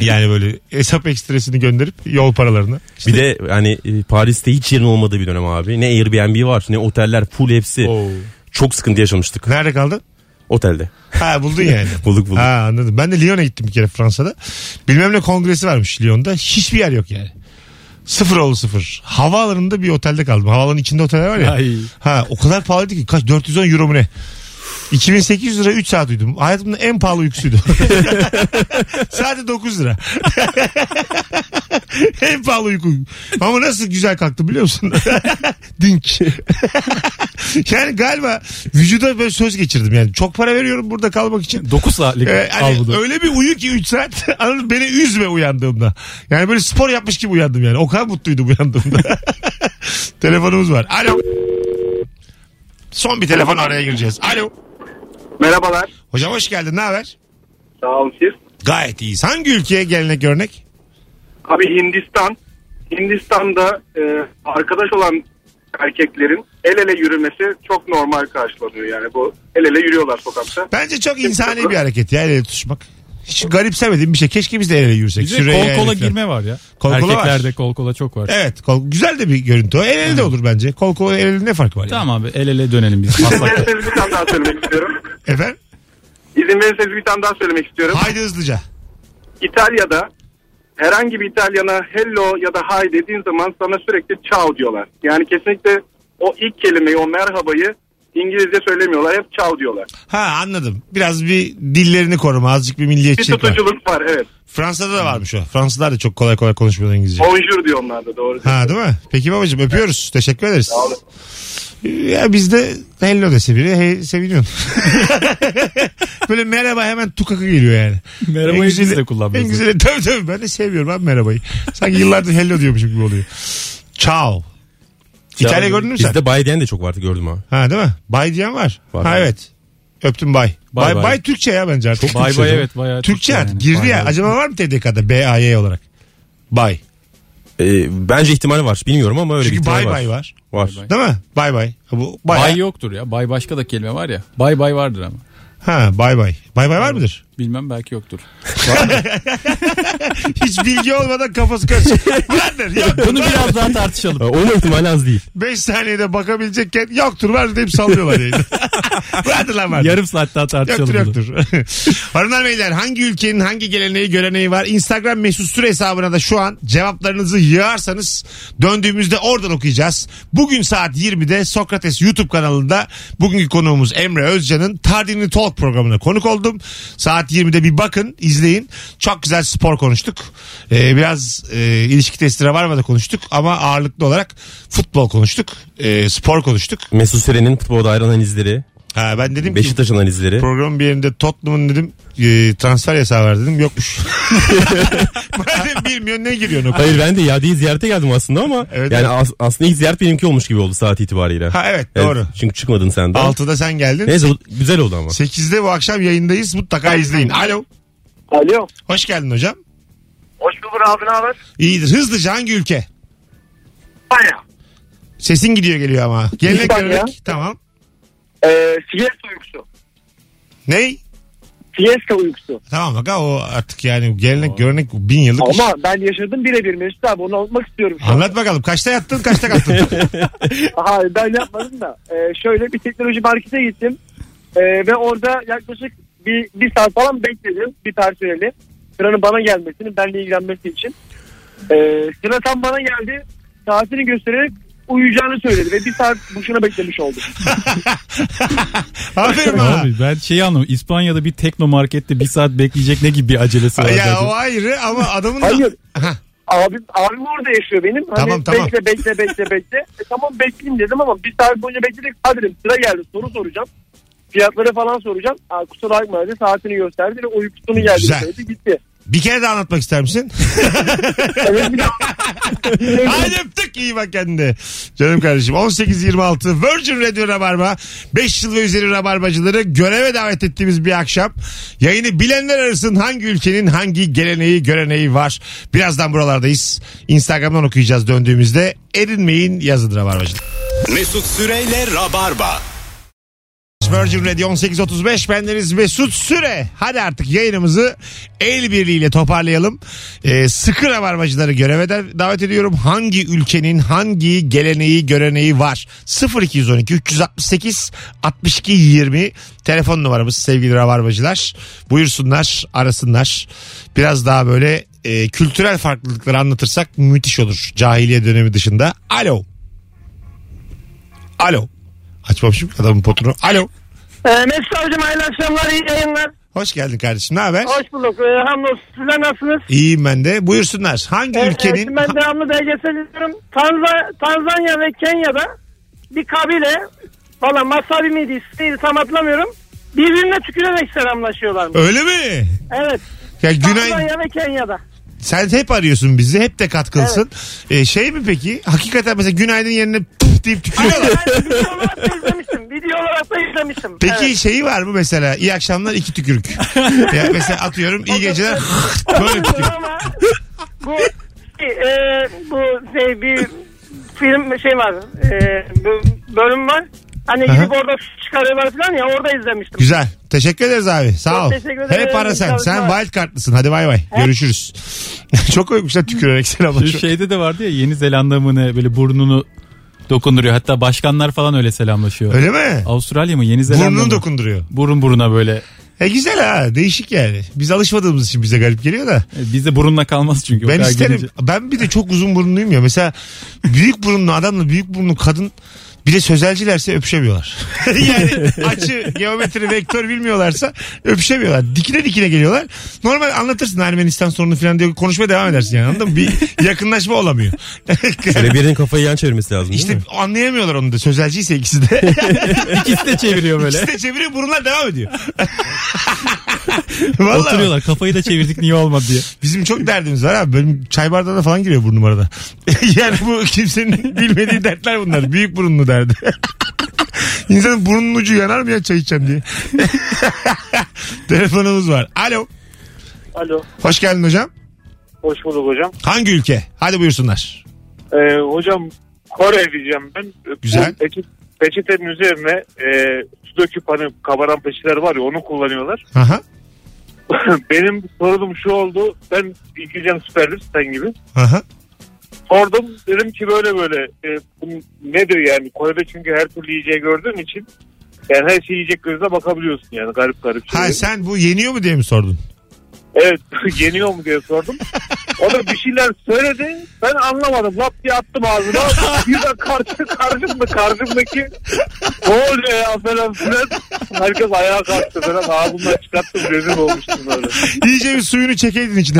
S2: yani böyle hesap ekstresini gönderip yol paralarını. İşte
S4: Bir de hani e, Paris'te hiç yerin olmadığı bir dönem abi. Ne Airbnb var ne oteller full hepsi. Çok sıkıntı yaşamıştık
S2: nerede kaldın?
S4: otelde.
S2: Ha buldun yani.
S4: Bulduk bulduk.
S2: Ha anladım. Ben de Lyon'a gittim bir kere Fransa'da. Bilmem ne kongresi varmış Lyon'da. Hiçbir yer yok yani. Sıfır oğlu sıfır. Havaalanında bir otelde kaldım. Havaalanın içinde oteller var ya.
S3: Ay.
S2: Ha o kadar pahalıydı ki kaç 410 euro mu ne? 2800 lira 3 saat uyudum. Hayatımda en pahalı uykusuydu. Sadece 9 lira. en pahalı uyku. Ama nasıl güzel kalktı biliyor musun? Dink. yani galiba vücuda böyle söz geçirdim yani. Çok para veriyorum burada kalmak için.
S3: 9 saatlik
S2: Ee, hani
S3: algıda.
S2: öyle bir uyu ki 3 saat anladın mı? beni üzme uyandığımda. Yani böyle spor yapmış gibi uyandım yani. O kadar mutluydum uyandığımda. Telefonumuz var. Alo. Son bir telefon araya gireceğiz. Alo.
S5: Merhabalar.
S2: Hocam hoş geldin. Ne haber?
S5: Sağ olun siz.
S2: Gayet iyiyiz. Hangi ülkeye gelenek örnek?
S5: Abi Hindistan. Hindistan'da e, arkadaş olan erkeklerin el ele yürümesi çok normal karşılanıyor. Yani bu el ele yürüyorlar sokakta.
S2: Bence çok insani bir hareket ya el ele tutuşmak. Hiç garipsemediğim bir şey. Keşke biz de el ele yürüsek.
S3: Bir de
S2: Süreyya
S3: Şey, kol kola
S2: herifler.
S3: girme var ya.
S2: Kol kola
S3: Erkeklerde
S2: var.
S3: kol kola çok var.
S2: Evet. Kol, güzel de bir görüntü o. El ele de olur bence. Kol kola el ele ne farkı var?
S3: Tamam abi el ele dönelim biz.
S5: İzin
S3: Maslak'ta.
S5: verirseniz bir tane daha söylemek istiyorum.
S2: Yani? Efendim?
S5: İzin verirseniz bir tane daha söylemek istiyorum.
S2: Haydi hızlıca.
S5: İtalya'da herhangi bir İtalyana hello ya da hi dediğin zaman sana sürekli ciao diyorlar. Yani kesinlikle o ilk kelimeyi, o merhabayı İngilizce söylemiyorlar. Hep ciao diyorlar.
S2: Ha anladım. Biraz bir dillerini koruma. Azıcık bir
S5: Bir
S2: milliyetçilik var.
S5: tutuculuk var evet.
S2: Fransa'da da varmış o. Fransızlar da çok kolay kolay konuşmuyorlar İngilizce.
S5: Bonjour diyor onlar da doğru.
S2: Ha değil mi? Peki babacığım öpüyoruz. Teşekkür ederiz.
S5: olun.
S2: Ya bizde hello dese biri hey, seviniyorsun. Böyle merhaba hemen tukaka geliyor yani.
S3: Merhabayı
S2: En
S3: biz
S2: güzeli-
S3: de kullanmıyoruz.
S2: En güzeli tabii tabii ben de seviyorum abi merhabayı. Sanki yıllardır hello diyormuşum gibi oluyor. Ciao. İtalya gördün mü sen?
S4: Bizde bay diyen de çok vardı gördüm ha.
S2: Ha değil mi? Bay diyen var.
S4: Var.
S2: Ha evet. Öptüm bay.
S3: Bay
S2: Bay
S3: bay.
S2: bay Türkçe ya bence artık.
S3: Bay bay evet bayağı
S2: Türkçe artık
S3: yani.
S2: girdi
S3: Bay
S2: ya.
S3: bay.
S2: Acaba var mı TDK'da BAY olarak? Bay.
S4: Ee, bence ihtimali var. Bilmiyorum ama öyle bir
S2: Çünkü
S4: ihtimal
S2: bay
S4: var.
S2: bay var.
S4: Var.
S3: Bay bay.
S2: Değil mi? Bay bay. Bu
S3: Bay
S2: bay.
S3: yoktur ya. Bay başka da kelime var ya. Bay bay vardır ama.
S2: Ha bay bay. Bay bay var mıdır?
S3: Bilmem belki yoktur.
S2: Hiç bilgi olmadan kafası karışık. Vardır. Yoktur.
S3: Bunu biraz daha tartışalım.
S4: Ee, Olma ihtimali az değil.
S2: 5 saniyede bakabilecekken yoktur vardır deyip sallıyorlar yayını. vardır lan vardır.
S3: Yarım saat daha tartışalım.
S2: Yoktur
S3: bunu.
S2: yoktur. Hanımlar beyler hangi ülkenin hangi geleneği göreneği var? Instagram mesut süre hesabına da şu an cevaplarınızı yığarsanız döndüğümüzde oradan okuyacağız. Bugün saat 20'de Sokrates YouTube kanalında bugünkü konuğumuz Emre Özcan'ın Tardini Talk programına konuk oldum. Saat 20'de bir bakın izleyin. Çok güzel spor konuştuk. Ee, biraz e, ilişki testine varmadan konuştuk ama ağırlıklı olarak futbol konuştuk. Ee, spor konuştuk.
S4: Mesut Süren'in futbolda ayrı analizleri,
S2: Ha, ben dedim ki
S4: Beşiktaş analizleri.
S2: Programın bir yerinde Tottenham'ın dedim e, transfer yasağı var dedim yokmuş. Madem bilmiyor ne giriyorsun okula?
S4: Hayır ben de Yadi'yi ziyarete geldim aslında ama
S2: Evet,
S4: yani
S2: evet.
S4: as- aslında ilk ziyaret benimki olmuş gibi oldu saat itibariyle.
S2: Ha evet,
S4: Evet,
S2: doğru.
S4: Çünkü çıkmadın sen de.
S2: 6'da sen geldin.
S4: Neyse bu- güzel oldu ama.
S2: 8'de bu akşam yayındayız mutlaka izleyin. Alo.
S7: Alo.
S2: Hoş geldin hocam.
S7: Hoş bulduk abi ne haber?
S2: İyidir. Hızlıca hangi ülke? Sesin gidiyor geliyor ama. Gelenek
S7: İspanya.
S2: görenek. Tamam.
S8: E,
S7: Ee, siesta uykusu.
S2: Ney?
S7: Siesta uykusu.
S2: Tamam bak ha, o artık yani gelenek görenek bin yıllık iş.
S7: Ama ben yaşadım birebir Mesut abi onu anlatmak istiyorum. şu an.
S2: Anlat bakalım kaçta yattın kaçta kalktın?
S7: Aha, ben yapmadım da. Ee, şöyle bir teknoloji markete gittim. Ee, ve orada yaklaşık bir, bir saat falan bekledim bir personeli. Sıranın bana gelmesini, benimle ilgilenmesi için. Ee, sıra tam bana geldi. Saatini göstererek uyuyacağını söyledi ve bir saat boşuna beklemiş oldum.
S2: Aferin ha.
S3: Abi ben şeyi anlamadım. İspanya'da bir teknomarkette bir saat bekleyecek ne gibi bir acelesi var?
S2: Ya
S3: zaten?
S2: o ayrı ama adamın da...
S7: Hayır.
S2: Ha,
S7: Abim, abim orada yaşıyor benim. Hani
S2: Tamam, tamam.
S7: Bekle bekle bekle bekle. E, tamam bekleyeyim dedim ama bir saat boyunca bekledik. Hadi dedim sıra geldi soru soracağım. Fiyatları falan soracağım. Aa, kusura bakma dedi saatini gösterdi ve uykusunu geldi
S2: Güzel.
S7: söyledi gitti.
S2: bir kere de anlatmak ister misin?
S7: Evet, bir daha-
S2: Haydi öptük iyi bak kendine. Canım kardeşim 18-26 Virgin Radio Rabarba 5 yıl ve üzeri Rabarbacıları göreve davet ettiğimiz bir akşam. Yayını bilenler arasın hangi ülkenin hangi geleneği göreneği var. Birazdan buralardayız. Instagram'dan okuyacağız döndüğümüzde. Erinmeyin yazıdır Rabarbacılar.
S1: Mesut Süreyle Rabarba.
S2: Virgin Radio 1835 bendeniz Mesut Süre. Hadi artık yayınımızı el birliğiyle toparlayalım. Ee, sıkı rabarbacıları göreve de- davet ediyorum. Hangi ülkenin hangi geleneği göreneği var? 0212 368 62 20 telefon numaramız sevgili rabarbacılar. Buyursunlar arasınlar. Biraz daha böyle e, kültürel farklılıkları anlatırsak müthiş olur. Cahiliye dönemi dışında. Alo. Alo. Açmamışım adamın potunu. Alo.
S9: Ee, Mesut Avcım hayırlı akşamlar, iyi yayınlar.
S2: Hoş geldin kardeşim. Ne haber?
S9: Hoş bulduk. Ee, hamdolsun. Sizler nasılsınız?
S2: İyiyim ben de. Buyursunlar. Hangi
S9: Ee,
S2: ülkenin...
S9: şimdi ben devamlı belgesel izliyorum. Tanza, Tanzanya ve Kenya'da bir kabile falan Masabi miydi ismiydi tam hatırlamıyorum. Birbirine tükürerek selamlaşıyorlarmış.
S2: Öyle mi?
S9: Evet.
S2: Ya Güney...
S9: Tanzanya ve Kenya'da.
S2: Sen hep arıyorsun bizi. Hep de katkılsın. Ee, şey mi peki? Hakikaten mesela günaydın yerine puf deyip tükürüyorlar.
S9: Ben video olarak da izlemiştim. Video olarak da izlemiştim.
S2: Peki
S9: Evet.
S2: şeyi var mı mesela? İyi akşamlar iki tükürük. ya mesela atıyorum iyi geceler böyle tükürük.
S9: Ama bu e, bu şey bir film şey var. E, bu bölüm var. Hani
S2: Aha.
S9: gidip orada su çıkarıyorlar falan ya orada izlemiştim.
S2: Güzel. Teşekkür ederiz abi. Sağ
S9: Çok
S2: ol.
S9: teşekkür ederim.
S2: Hep ara sen.
S9: Sağ ol,
S2: Sen
S9: sağ ol.
S2: wild kartlısın. Hadi bay bay. Görüşürüz. Çok koymuşlar tükürerek
S3: Şu
S2: selamlaşıyor.
S3: şeyde de vardı ya Yeni Zelanda mı ne böyle burnunu dokunduruyor. Hatta başkanlar falan öyle selamlaşıyor.
S2: Öyle mi?
S3: Avustralya mı Yeni Zelanda
S2: Burnunu
S3: mı?
S2: dokunduruyor.
S3: Burun buruna böyle.
S2: E güzel ha. Değişik yani. Biz alışmadığımız için bize garip geliyor da.
S3: E, Bizde burunla kalmaz çünkü. o
S2: ben
S3: kadar
S2: isterim.
S3: gelince.
S2: Ben bir de çok uzun burunluyum ya. Mesela büyük burunlu adamla büyük burunlu kadın bir de sözelcilerse öpüşemiyorlar. yani açı, geometri, vektör bilmiyorlarsa öpüşemiyorlar. Dikine dikine geliyorlar. Normal anlatırsın Ermenistan sorunu falan diye konuşmaya devam edersin yani anladın mı? Bir yakınlaşma olamıyor.
S4: Şöyle birinin kafayı yan çevirmesi lazım değil
S2: işte
S4: mi?
S2: anlayamıyorlar onu da sözelciyse ikisi de.
S3: İkisi de çeviriyor böyle.
S2: ikisi de çeviriyor burunlar devam ediyor. Vallahi bak.
S3: Oturuyorlar kafayı da çevirdik niye olmadı diye.
S2: Bizim çok derdimiz var abi. Benim çay bardağına falan giriyor burnum arada. yani bu kimsenin bilmediği dertler bunlar. Büyük burunlu derdi. İnsanın burnunun ucu yanar mı ya çay içeceğim diye. Telefonumuz var. Alo.
S5: Alo.
S2: Hoş geldin hocam.
S5: Hoş bulduk hocam.
S2: Hangi ülke? Hadi buyursunlar.
S5: Ee, hocam Kore diyeceğim ben.
S2: Güzel.
S5: Bu peçe- peçetenin üzerine e, su döküp hani kabaran peçeteler var ya onu kullanıyorlar.
S2: Aha.
S5: Benim sorunum şu oldu. Ben İngilizcem süperdir sen gibi.
S2: Aha.
S5: Sordum dedim ki böyle böyle e, bu nedir yani Kore'de çünkü her türlü yiyeceği gördüğüm için yani her şey yiyecek gözle bakabiliyorsun yani garip garip
S2: Ha
S5: şeylere.
S2: sen bu yeniyor mu diye mi sordun?
S5: Evet yeniyor mu diye sordum. O da bir şeyler söyledi. Ben anlamadım. Lap diye attım ağzına. Bir de karşı, karşımda karşımdaki ne oluyor ya falan filan. Herkes ayağa kalktı falan. Ağzımdan çıkarttım. Rezil olmuştum böyle.
S2: İyice bir suyunu çekeydin içine.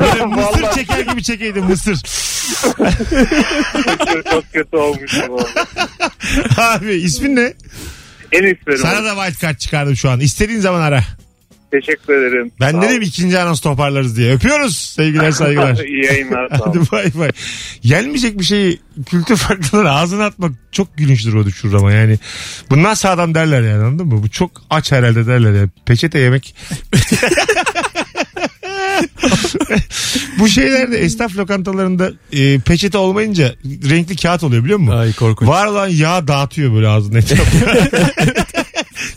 S2: Böyle mısır
S5: Vallahi.
S2: çeker gibi çekeydin mısır.
S5: Çok kötü olmuştum. vallahi.
S2: Abi ismin ne?
S5: En isterim.
S2: Sana da wild card çıkardım şu an. İstediğin zaman ara.
S5: Teşekkür ederim.
S2: Ben
S5: Sağ
S2: ne
S5: ol.
S2: dedim ikinci anons toparlarız diye. Öpüyoruz. Sevgiler saygılar.
S5: İyi yayınlar. Sağ
S2: Hadi
S5: olun.
S2: bay bay. Yenmeyecek bir şeyi kültür farklılığına ağzına atmak çok gülünçtür o düşürür ama yani. Bundan sağdan derler yani anladın mı? Bu çok aç herhalde derler ya. Peçete yemek. Bu şeylerde esnaf lokantalarında e, peçete olmayınca renkli kağıt oluyor biliyor musun?
S3: Ay korkunç.
S2: Var olan yağ dağıtıyor böyle ağzının etrafına.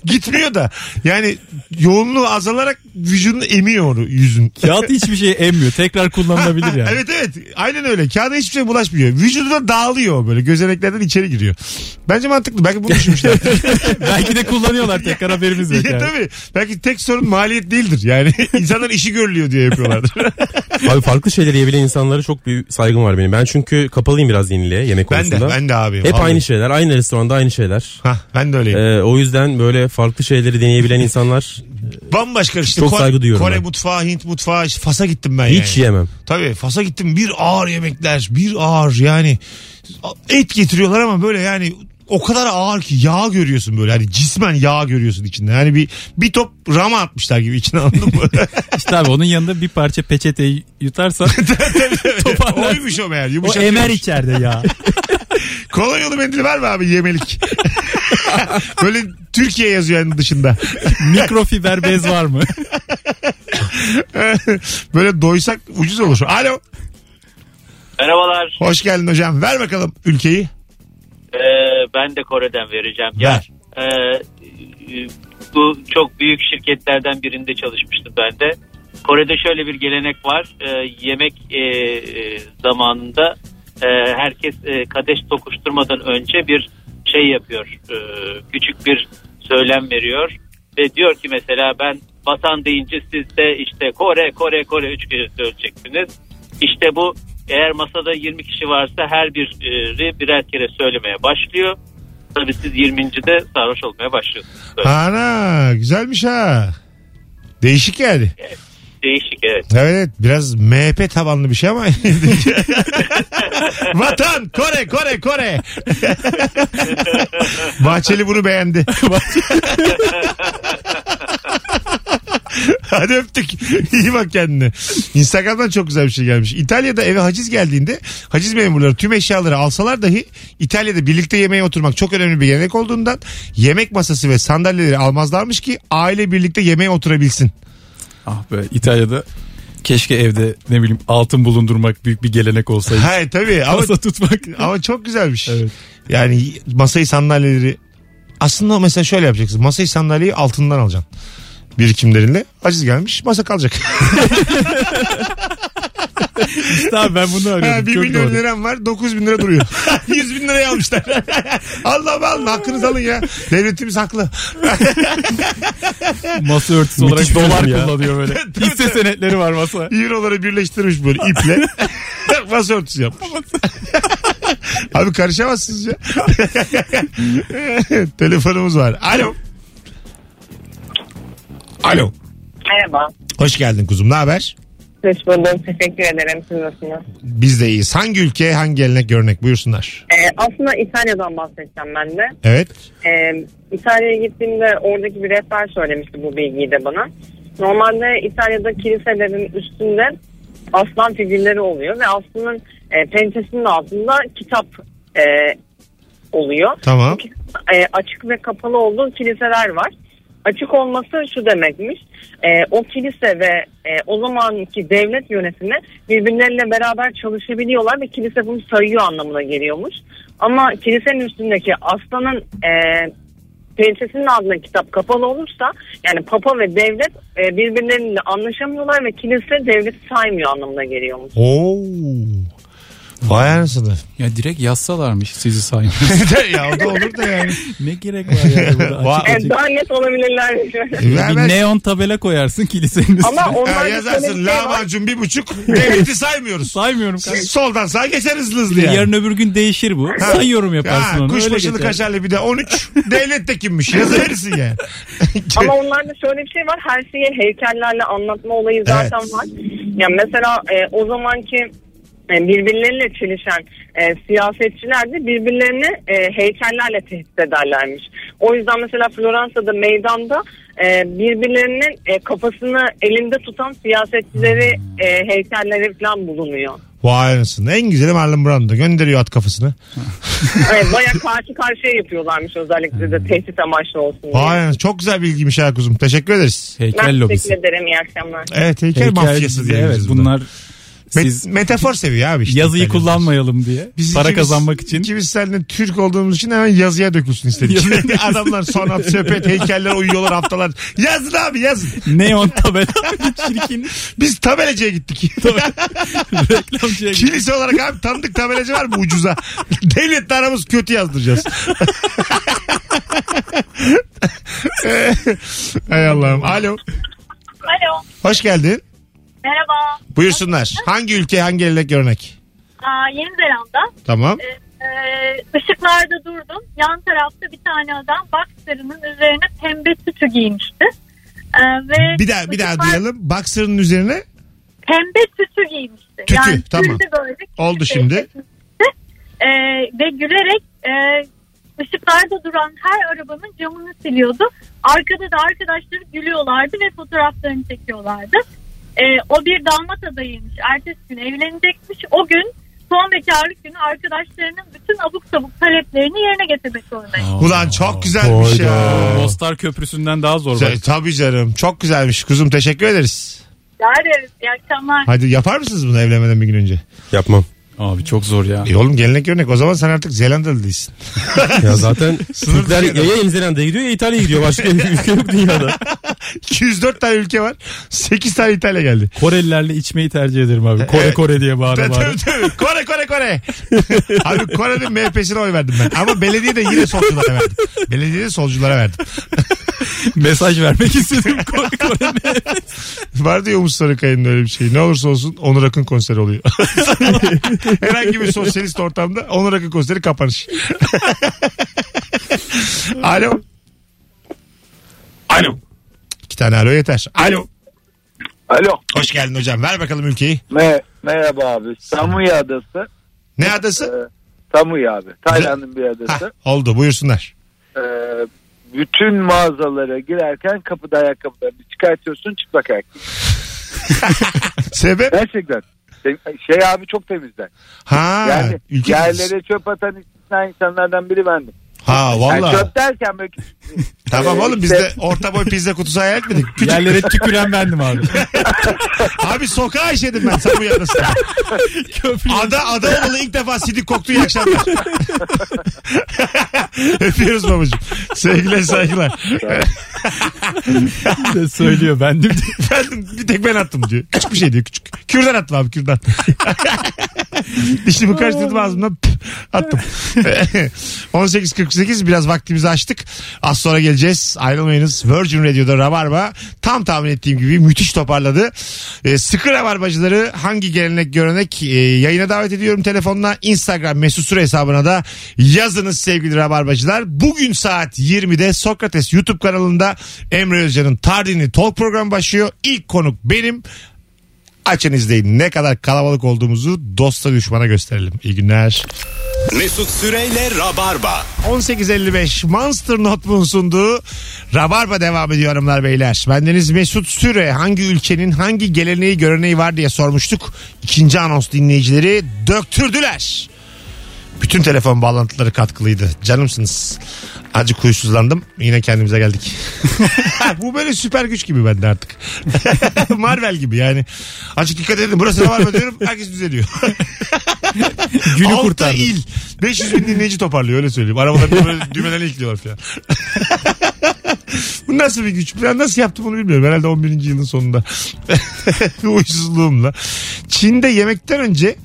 S2: Gitmiyor da. Yani yoğunluğu azalarak vücudunu emiyor onu yüzün.
S3: Kağıt hiçbir şey emmiyor. Tekrar kullanılabilir yani.
S2: Evet evet aynen öyle. Kağıda hiçbir şey bulaşmıyor. Vücuduna dağılıyor böyle gözeneklerden içeri giriyor. Bence mantıklı. Belki bunu düşünmüşler.
S3: Belki de kullanıyorlar tekrar haberimiz yok
S2: Ya,
S3: yani.
S2: tabii. Belki tek sorun maliyet değildir. Yani insanlar işi görülüyor diye yapıyorlardır.
S4: Abi farklı şeyleri yiyebilen insanlara çok büyük saygım var benim. Ben çünkü kapalıyım biraz yeniliğe yemek
S2: ben de
S4: konusunda.
S2: ben de abi.
S4: Hep
S2: Vallahi.
S4: aynı şeyler. Aynı restoranda aynı şeyler.
S2: Hah, ben de öyleyim.
S4: Ee, o yüzden böyle farklı şeyleri deneyebilen insanlar
S2: Bambaşka işte
S4: çok
S2: Kore,
S4: saygı duyuyorum
S2: Kore
S4: ben.
S2: mutfağı, Hint mutfağı, işte Fas'a gittim ben yani.
S4: hiç yemem.
S2: Tabii Fas'a gittim bir ağır yemekler bir ağır yani et getiriyorlar ama böyle yani o kadar ağır ki yağ görüyorsun böyle hani cismen yağ görüyorsun içinde. Yani bir bir top rama atmışlar gibi içine anladın mı?
S3: İşte abi onun yanında bir parça peçeteyi yutarsan toparlar.
S2: Oymuş o meğer
S3: O emer
S2: yumuşatıyormuş.
S3: içeride ya.
S2: Kolonyalı mendil var mı abi yemelik? böyle Türkiye yazıyor yani dışında.
S3: Mikrofiber bez var mı?
S2: böyle doysak ucuz olur. Alo
S10: Merhabalar.
S2: hoş geldin hocam ver bakalım ülkeyi.
S10: Ee, ben de Kore'den vereceğim.
S2: Ver.
S10: Ee, e, bu çok büyük şirketlerden birinde çalışmıştım ben de. Kore'de şöyle bir gelenek var. Ee, yemek e, e, zamanında e, herkes e, kadeş tokuşturmadan önce bir şey yapıyor. Ee, küçük bir söylem veriyor. Ve diyor ki mesela ben vatan deyince siz de işte Kore, Kore, Kore üç kere söyleyeceksiniz. İşte bu eğer masada 20 kişi varsa her biri birer kere söylemeye başlıyor Tabii siz 20.de sarhoş olmaya başlıyorsunuz. Böyle
S2: Ana güzelmiş ha. Değişik yani.
S10: Değişik evet.
S2: Evet evet, biraz MHP tabanlı bir şey ama. Vatan Kore Kore Kore. Bahçeli bunu beğendi. Hadi öptük. İyi bak kendine. Instagram'dan çok güzel bir şey gelmiş. İtalya'da eve haciz geldiğinde haciz memurları tüm eşyaları alsalar dahi İtalya'da birlikte yemeğe oturmak çok önemli bir gelenek olduğundan yemek masası ve sandalyeleri almazlarmış ki aile birlikte yemeğe oturabilsin.
S3: Ah be İtalya'da keşke evde ne bileyim altın bulundurmak büyük bir gelenek olsaydı.
S2: Hayır tabii ama
S3: Masa tutmak.
S2: Ama çok güzelmiş.
S3: Evet.
S2: Yani masayı sandalyeleri aslında mesela şöyle yapacaksın. Masayı sandalyeyi altından alacaksın. Birikimlerinle. Aciz gelmiş masa kalacak.
S3: Tamam ben bunu
S2: ha,
S3: arıyorum.
S2: 1
S3: Çok
S2: milyon
S3: doğru.
S2: liram var 9 bin lira duruyor. 100 bin liraya almışlar. Allah'ım alın hakkınızı alın ya. Devletimiz haklı.
S3: Masa örtüsü olarak
S4: Müthiş bir
S3: dolar
S4: ürün ya.
S3: kullanıyor böyle. Hisse senetleri var masa.
S2: Euroları birleştirmiş böyle iple. Masa örtüsü yapmış. Abi karışamazsınız ya. Telefonumuz var. Alo. Alo.
S9: Merhaba.
S2: Hoş geldin kuzum. Ne haber?
S9: Hoş buldum. Teşekkür ederim. Siz nasılsınız?
S2: Biz de iyiyiz. Hangi ülke, hangi gelenek, görnek buyursunlar.
S9: Ee, aslında İtalya'dan bahsedeceğim ben de.
S2: Evet.
S9: Ee, İtalya'ya gittiğimde oradaki bir rehber söylemişti bu bilgiyi de bana. Normalde İtalya'da kiliselerin üstünde aslan figürleri oluyor ve aslanın e, pençesinin altında kitap e, oluyor.
S2: Tamam.
S9: E, açık ve kapalı olduğu kiliseler var. Açık olması şu demekmiş. e, o kilise ve e, o zamanki devlet yönetimi birbirleriyle beraber çalışabiliyorlar ve kilise bunu sayıyor anlamına geliyormuş. Ama kilisenin üstündeki aslanın e, pençesinin altında kitap kapalı olursa yani papa ve devlet e, birbirleriyle anlaşamıyorlar ve kilise devleti saymıyor anlamına geliyormuş.
S2: Oo. Vay anasını.
S3: Ya direkt yazsalarmış sizi sayın.
S2: ya o da olur da yani.
S3: ne gerek var ya burada
S2: Vay.
S3: açık
S9: Evet,
S3: açık.
S9: E, daha net olabilirler.
S3: Bir
S2: Vermez.
S3: neon tabela koyarsın kilisenin üstüne.
S9: Ama onlar
S2: Ha,
S9: da şöyle
S2: yazarsın
S9: bir şey var.
S2: lahmacun bir buçuk devleti saymıyoruz.
S3: Saymıyorum
S2: Siz soldan sağa geçer hızlı hızlı Şey, yani.
S3: Yarın öbür gün değişir bu.
S2: Ha.
S3: Sayıyorum yaparsın
S2: Ha,
S3: onu. öyle
S2: kuşbaşılı
S3: geçer.
S2: kaşarlı bir de 13 devlet de kimmiş yazıverirsin yani.
S9: Ama onlarda şöyle bir şey var. Her şeyi heykellerle anlatma olayı zaten var. Ya mesela e, o zamanki e, birbirleriyle çelişen e, siyasetçiler de birbirlerini e, heykellerle tehdit ederlermiş. O yüzden mesela Floransa'da meydanda e, birbirlerinin e, kafasını elinde tutan siyasetçileri e, heykelleri falan bulunuyor.
S2: Vay anasını. En güzeli Marlon Brando. Gönderiyor at kafasını.
S9: Evet, Baya karşı karşıya yapıyorlarmış özellikle de tehdit amaçlı olsun diye.
S2: Vay anasını. Çok güzel bilgiymiş ha kuzum. Teşekkür ederiz.
S3: Heykel
S9: Ben
S3: lobisi.
S9: teşekkür ederim. İyi akşamlar.
S2: Evet heykel, mafyası diye.
S3: Evet bunlar siz
S2: metafor seviyor abi işte.
S3: yazıyı
S2: İtalyanlar.
S3: kullanmayalım diye.
S2: Biz
S3: para
S2: ikimiz-
S3: kazanmak için.
S2: İkimiz seninle Türk olduğumuz için hemen yazıya dökülsün istedik. Adamlar sanat, sepet, heykeller uyuyorlar haftalar. Yazın abi yazın.
S3: Neon tabela. Çirkin
S2: Biz tabelacıya gittik.
S3: reklamcıya gittim.
S2: Kilise olarak abi tanıdık tabelacı var mı ucuza? Devletle aramız kötü yazdıracağız. Hay Allah'ım. Alo.
S9: Alo.
S2: Hoş geldin.
S9: Merhaba.
S2: Buyursunlar. Hangi ülke hangi gelenek örnek?
S9: Aa, Yeni Zelanda.
S2: Tamam.
S9: Ee, ışıklarda durdum. Yan tarafta bir tane adam boxer'ının üzerine pembe tütü giymişti. Ee, ve
S2: Bir daha bir daha
S9: ışıklar
S2: duyalım. Boxer'ın üzerine
S9: Pembe tütü giymişti.
S2: Tütü,
S9: yani
S2: tamam.
S9: tütü böyle küçük
S2: Oldu
S9: bir
S2: şimdi.
S9: şey giymişti. Ee, ve gülerek e, ışıklarda duran her arabanın camını siliyordu. Arkada da arkadaşları gülüyorlardı ve fotoğraflarını çekiyorlardı. Ee, o bir damat adayıymış. Ertesi gün evlenecekmiş. O gün son bekarlık günü arkadaşlarının bütün abuk sabuk taleplerini yerine getirmek zorundaymış.
S2: ulan çok güzelmiş ya.
S3: Bostar Köprüsü'nden daha zor bak.
S2: Ta- Tabii canım. Çok güzelmiş. Kuzum teşekkür ederiz.
S9: Yarın iyi akşamlar.
S2: Hadi yapar mısınız bunu evlenmeden bir gün önce?
S4: Yapmam.
S3: Abi çok zor ya.
S2: E oğlum gelenek örnek. O zaman sen artık Zelandalı değilsin.
S4: Ya zaten
S2: Sınır
S4: Türkler ya,
S2: dışarı.
S4: ya Yeni Zelanda'ya gidiyor ya İtalya'ya gidiyor. Başka ülke yok dünyada.
S2: 204 tane ülke var. 8 tane İtalya geldi.
S3: Korelilerle içmeyi tercih ederim abi. Kore
S2: Evet.
S3: Kore diye bağıra
S2: Tabii,
S3: bağıra.
S2: tabii, tabii. Kore Kore Kore. Abi Kore'nin MHP'sine oy verdim ben. Ama belediye de yine solculara verdim. Belediye de solculara verdim.
S3: Mesaj vermek istedim Kore Kore'ye.
S2: Vardı ya Umut Sarıkaya'nın öyle bir şeyi. Ne olursa olsun Onur Akın konseri oluyor. Herhangi bir sosyalist ortamda Onur Akın konseri kapanış. Alo.
S5: Alo.
S2: İki tane alo yeter. Alo.
S5: Alo.
S2: Hoş geldin hocam. Ver bakalım ülkeyi.
S5: merhaba abi. Samuya Adası.
S2: Ne adası?
S5: Samuya abi. Tayland'ın bir adası.
S2: Hah, oldu buyursunlar.
S5: Ee, bütün mağazalara girerken kapıda ayakkabılarını çıkartıyorsun çıplak ayak.
S2: Sebep?
S5: Gerçekten. Şey abi çok temizler.
S2: Ha.
S5: Yani
S2: ülke
S5: yerlere çöp atan istisna insanlardan biri bendim.
S2: Ha
S5: Yani
S2: valla.
S5: çöp derken böyle
S2: Tamam
S5: Ee,
S2: oğlum biz
S5: işte-
S2: de orta boy pizza kutusu hayal etmedik. Küçük-
S3: Yerlere tüküren bendim abi.
S2: Abi sokağa işedim ben sen bu yanısın. ada, ada olalı ilk defa sidik koktu iyi akşamlar. Öpüyoruz babacığım. Sevgiler saygılar.
S3: de söylüyor bendim diye.
S2: Efendim bir tek ben attım diyor. Küçük bir şey diyor küçük. Kürdan attım abi kürdan. Dişimi karıştırdım ağzımdan püf, attım. Ee, 18.48 biraz vaktimizi açtık. Az sonra geleceğiz. Ayrılmayınız. Virgin Radio'da Rabarba tam tahmin ettiğim gibi müthiş toparladı. Ee, sıkı Rabarbacıları hangi gelenek görenek e, yayına davet ediyorum telefonla. Instagram mesut süre hesabına da yazınız sevgili Rabarbacılar. Bugün saat 20'de Sokrates YouTube kanalında Emre Özcan'ın Tardini Talk programı başlıyor. İlk konuk benim. Açın izleyin. Ne kadar kalabalık olduğumuzu dosta düşmana gösterelim. İyi günler.
S1: Mesut Süreyle Rabarba.
S2: 18.55 Monster Notebook'un sunduğu Rabarba devam ediyor hanımlar beyler. Bendeniz Mesut Süre hangi ülkenin hangi geleneği göreneği var diye sormuştuk. İkinci anons dinleyicileri döktürdüler. Bütün telefon bağlantıları katkılıydı. Canımsınız. Acık huysuzlandım. Yine kendimize geldik. Bu böyle süper güç gibi bende artık. Marvel gibi yani. Azıcık dikkat edin. Burası Rabarba diyorum. Herkes düzeliyor.
S3: Günü
S2: Altı
S3: kurtardı.
S2: il. 500 bin dinleyici toparlıyor öyle söyleyeyim. Arabada böyle düğmelerle ekliyorlar falan. Bu nasıl bir güç? Ben nasıl yaptım bunu bilmiyorum. Herhalde 11. yılın sonunda. Uysuzluğumla. Çin'de yemekten önce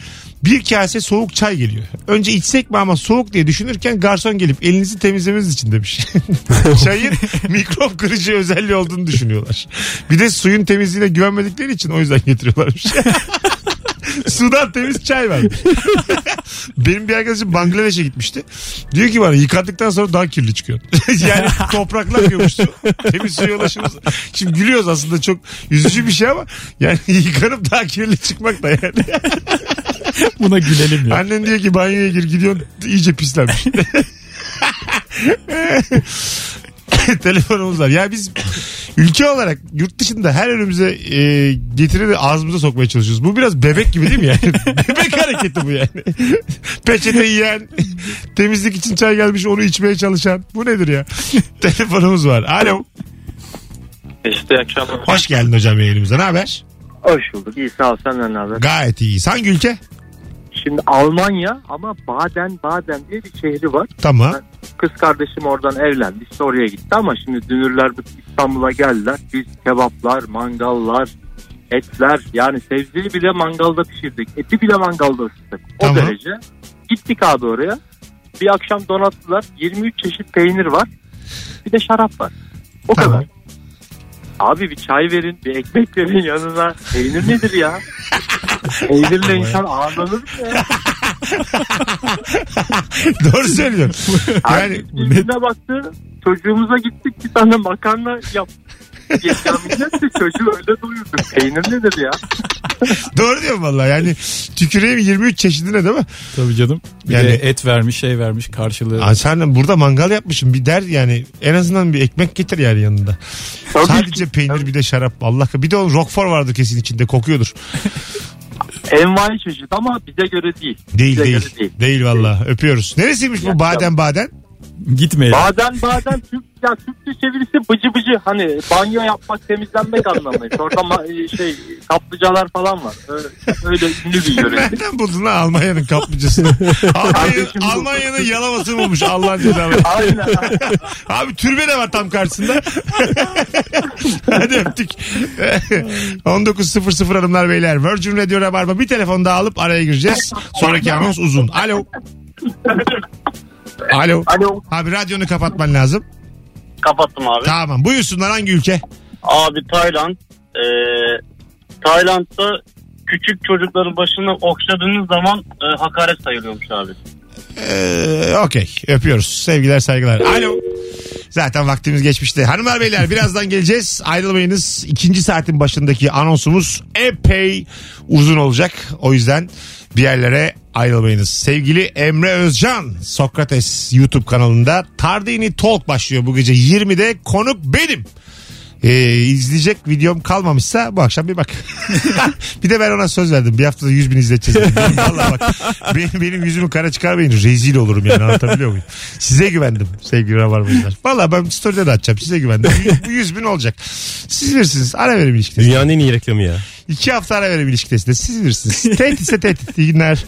S2: bir kase soğuk çay geliyor. Önce içsek mi ama soğuk diye düşünürken garson gelip elinizi temizlemeniz için demiş. Çayın mikrop kırıcı özelliği olduğunu düşünüyorlar. Bir de suyun temizliğine güvenmedikleri için o yüzden getiriyorlarmış. Sudan temiz çay var. Benim bir arkadaşım Bangladeş'e gitmişti. Diyor ki bana yıkadıktan sonra daha kirli çıkıyor. yani topraklanmıyormuş su. Temiz suya ulaşımız. Şimdi gülüyoruz aslında çok üzücü bir şey ama yani yıkanıp daha kirli çıkmak da yani.
S3: Buna gülelim ya.
S2: Annen diyor ki banyoya gir gidiyorsun iyice pislenmiş. Telefonumuz var. Ya biz ülke olarak yurt dışında her önümüze e, getireni ağzımıza sokmaya çalışıyoruz. Bu biraz bebek gibi değil mi yani? bebek hareketi bu yani. Peçete yiyen, temizlik için çay gelmiş onu içmeye çalışan. Bu nedir ya? Telefonumuz var. Alo.
S10: İşte akşam
S2: Hoş geldin hocam yayınımıza. Ne haber?
S8: Hoş bulduk. İyi sağ ol senden ne haber?
S2: Gayet iyiyiz. Hangi ülke?
S8: Şimdi Almanya ama Baden Baden diye bir şehri var.
S2: Tamam.
S8: Kız kardeşim oradan evlendi. İşte oraya gitti ama şimdi dünürler bu İstanbul'a geldiler. Biz kebaplar, mangallar, etler yani sebzeyi bile mangalda pişirdik. Eti bile mangalda ısıttık. O
S2: Tamam.
S8: derece. Gittik abi oraya. Bir akşam donattılar. 23 çeşit peynir var. Bir de şarap var. O
S2: Tamam.
S8: kadar. Abi bir çay verin, bir ekmek verin yanına. Peynir nedir ya? Peynirle insan ağırlanır mı ya?
S2: Doğru söylüyorsun. yani
S8: Birbirine baktı. Çocuğumuza gittik bir tane makarna yap. Yekamillet de çocuğu öyle doyurdu. Peynir nedir ya?
S2: Doğru diyorum valla yani tüküreyim 23 çeşidine değil mi?
S3: Tabii canım. Bir
S2: Yani-
S3: de et vermiş şey vermiş karşılığı.
S2: Aa, sen de burada mangal yapmışsın bir der yani en azından bir ekmek getir yani yanında.
S8: Tabii
S2: Sadece peynir bir de şarap Allah kah- bir de o roquefort vardır kesin içinde kokuyordur.
S8: Envai çeşit ama bize göre değil.
S2: Değil
S8: Bize
S2: değil.
S8: göre
S2: Değil, valla öpüyoruz. Neresiymiş bu
S8: Ya,
S2: Baden Baden?
S3: Gitmeyelim.
S8: Baden baden Türk, ya Türkçe çevirisi bıcı bıcı hani banyo yapmak temizlenmek anlamı. Orada ma- şey kaplıcalar falan var. Öyle, öyle ünlü bir yöre.
S2: Nereden buldun lan Almanya'nın kaplıcasını? Almanya,
S8: Kardeşim bu.
S2: Almanya'nın yalaması bulmuş Allah'ın cezaları.
S8: Aynen.
S2: Abi türbe de var tam karşısında. Hadi öptük. 19.00 hanımlar beyler. Virgin Radio Rabarba bir telefon daha alıp araya gireceğiz. Sonraki anons uzun. Alo. Alo.
S8: Hani
S6: Alo.
S2: Abi radyonu kapatman lazım.
S6: Kapattım abi.
S2: Tamam. Buyursunlar hangi ülke?
S6: Abi Tayland. e, Tayland'da küçük çocukların başını okşadığınız zaman e, hakaret sayılıyormuş abi.
S2: Ee, Okey. Öpüyoruz. Sevgiler saygılar. Alo. Zaten vaktimiz geçmişti. Hanımlar beyler birazdan geleceğiz. Ayrılmayınız. İkinci saatin başındaki anonsumuz epey uzun olacak. O yüzden bir yerlere ayrılmayınız. Sevgili Emre Özcan Sokrates YouTube kanalında Tardini Talk başlıyor bu gece 20'de. Konuk benim. Ee, izleyecek videom kalmamışsa bu akşam bir bak. bir de ben ona söz verdim. Bir haftada 100 bin izleteceğiz. dedim. Vallahi bak. Benim, benim yüzümü kara çıkarmayın. Rezil olurum yani anlatabiliyor muyum? Size güvendim sevgili rabarbacılar. Valla ben story'de de atacağım. Size güvendim. Bu- Bu 100 bin olacak. Siz bilirsiniz. Ara verim ilişkidesi.
S4: Dünyanın en iyi reklamı ya.
S2: İki hafta ara verim ilişkidesi de siz bilirsiniz. tehditse tehdit. İyi günler.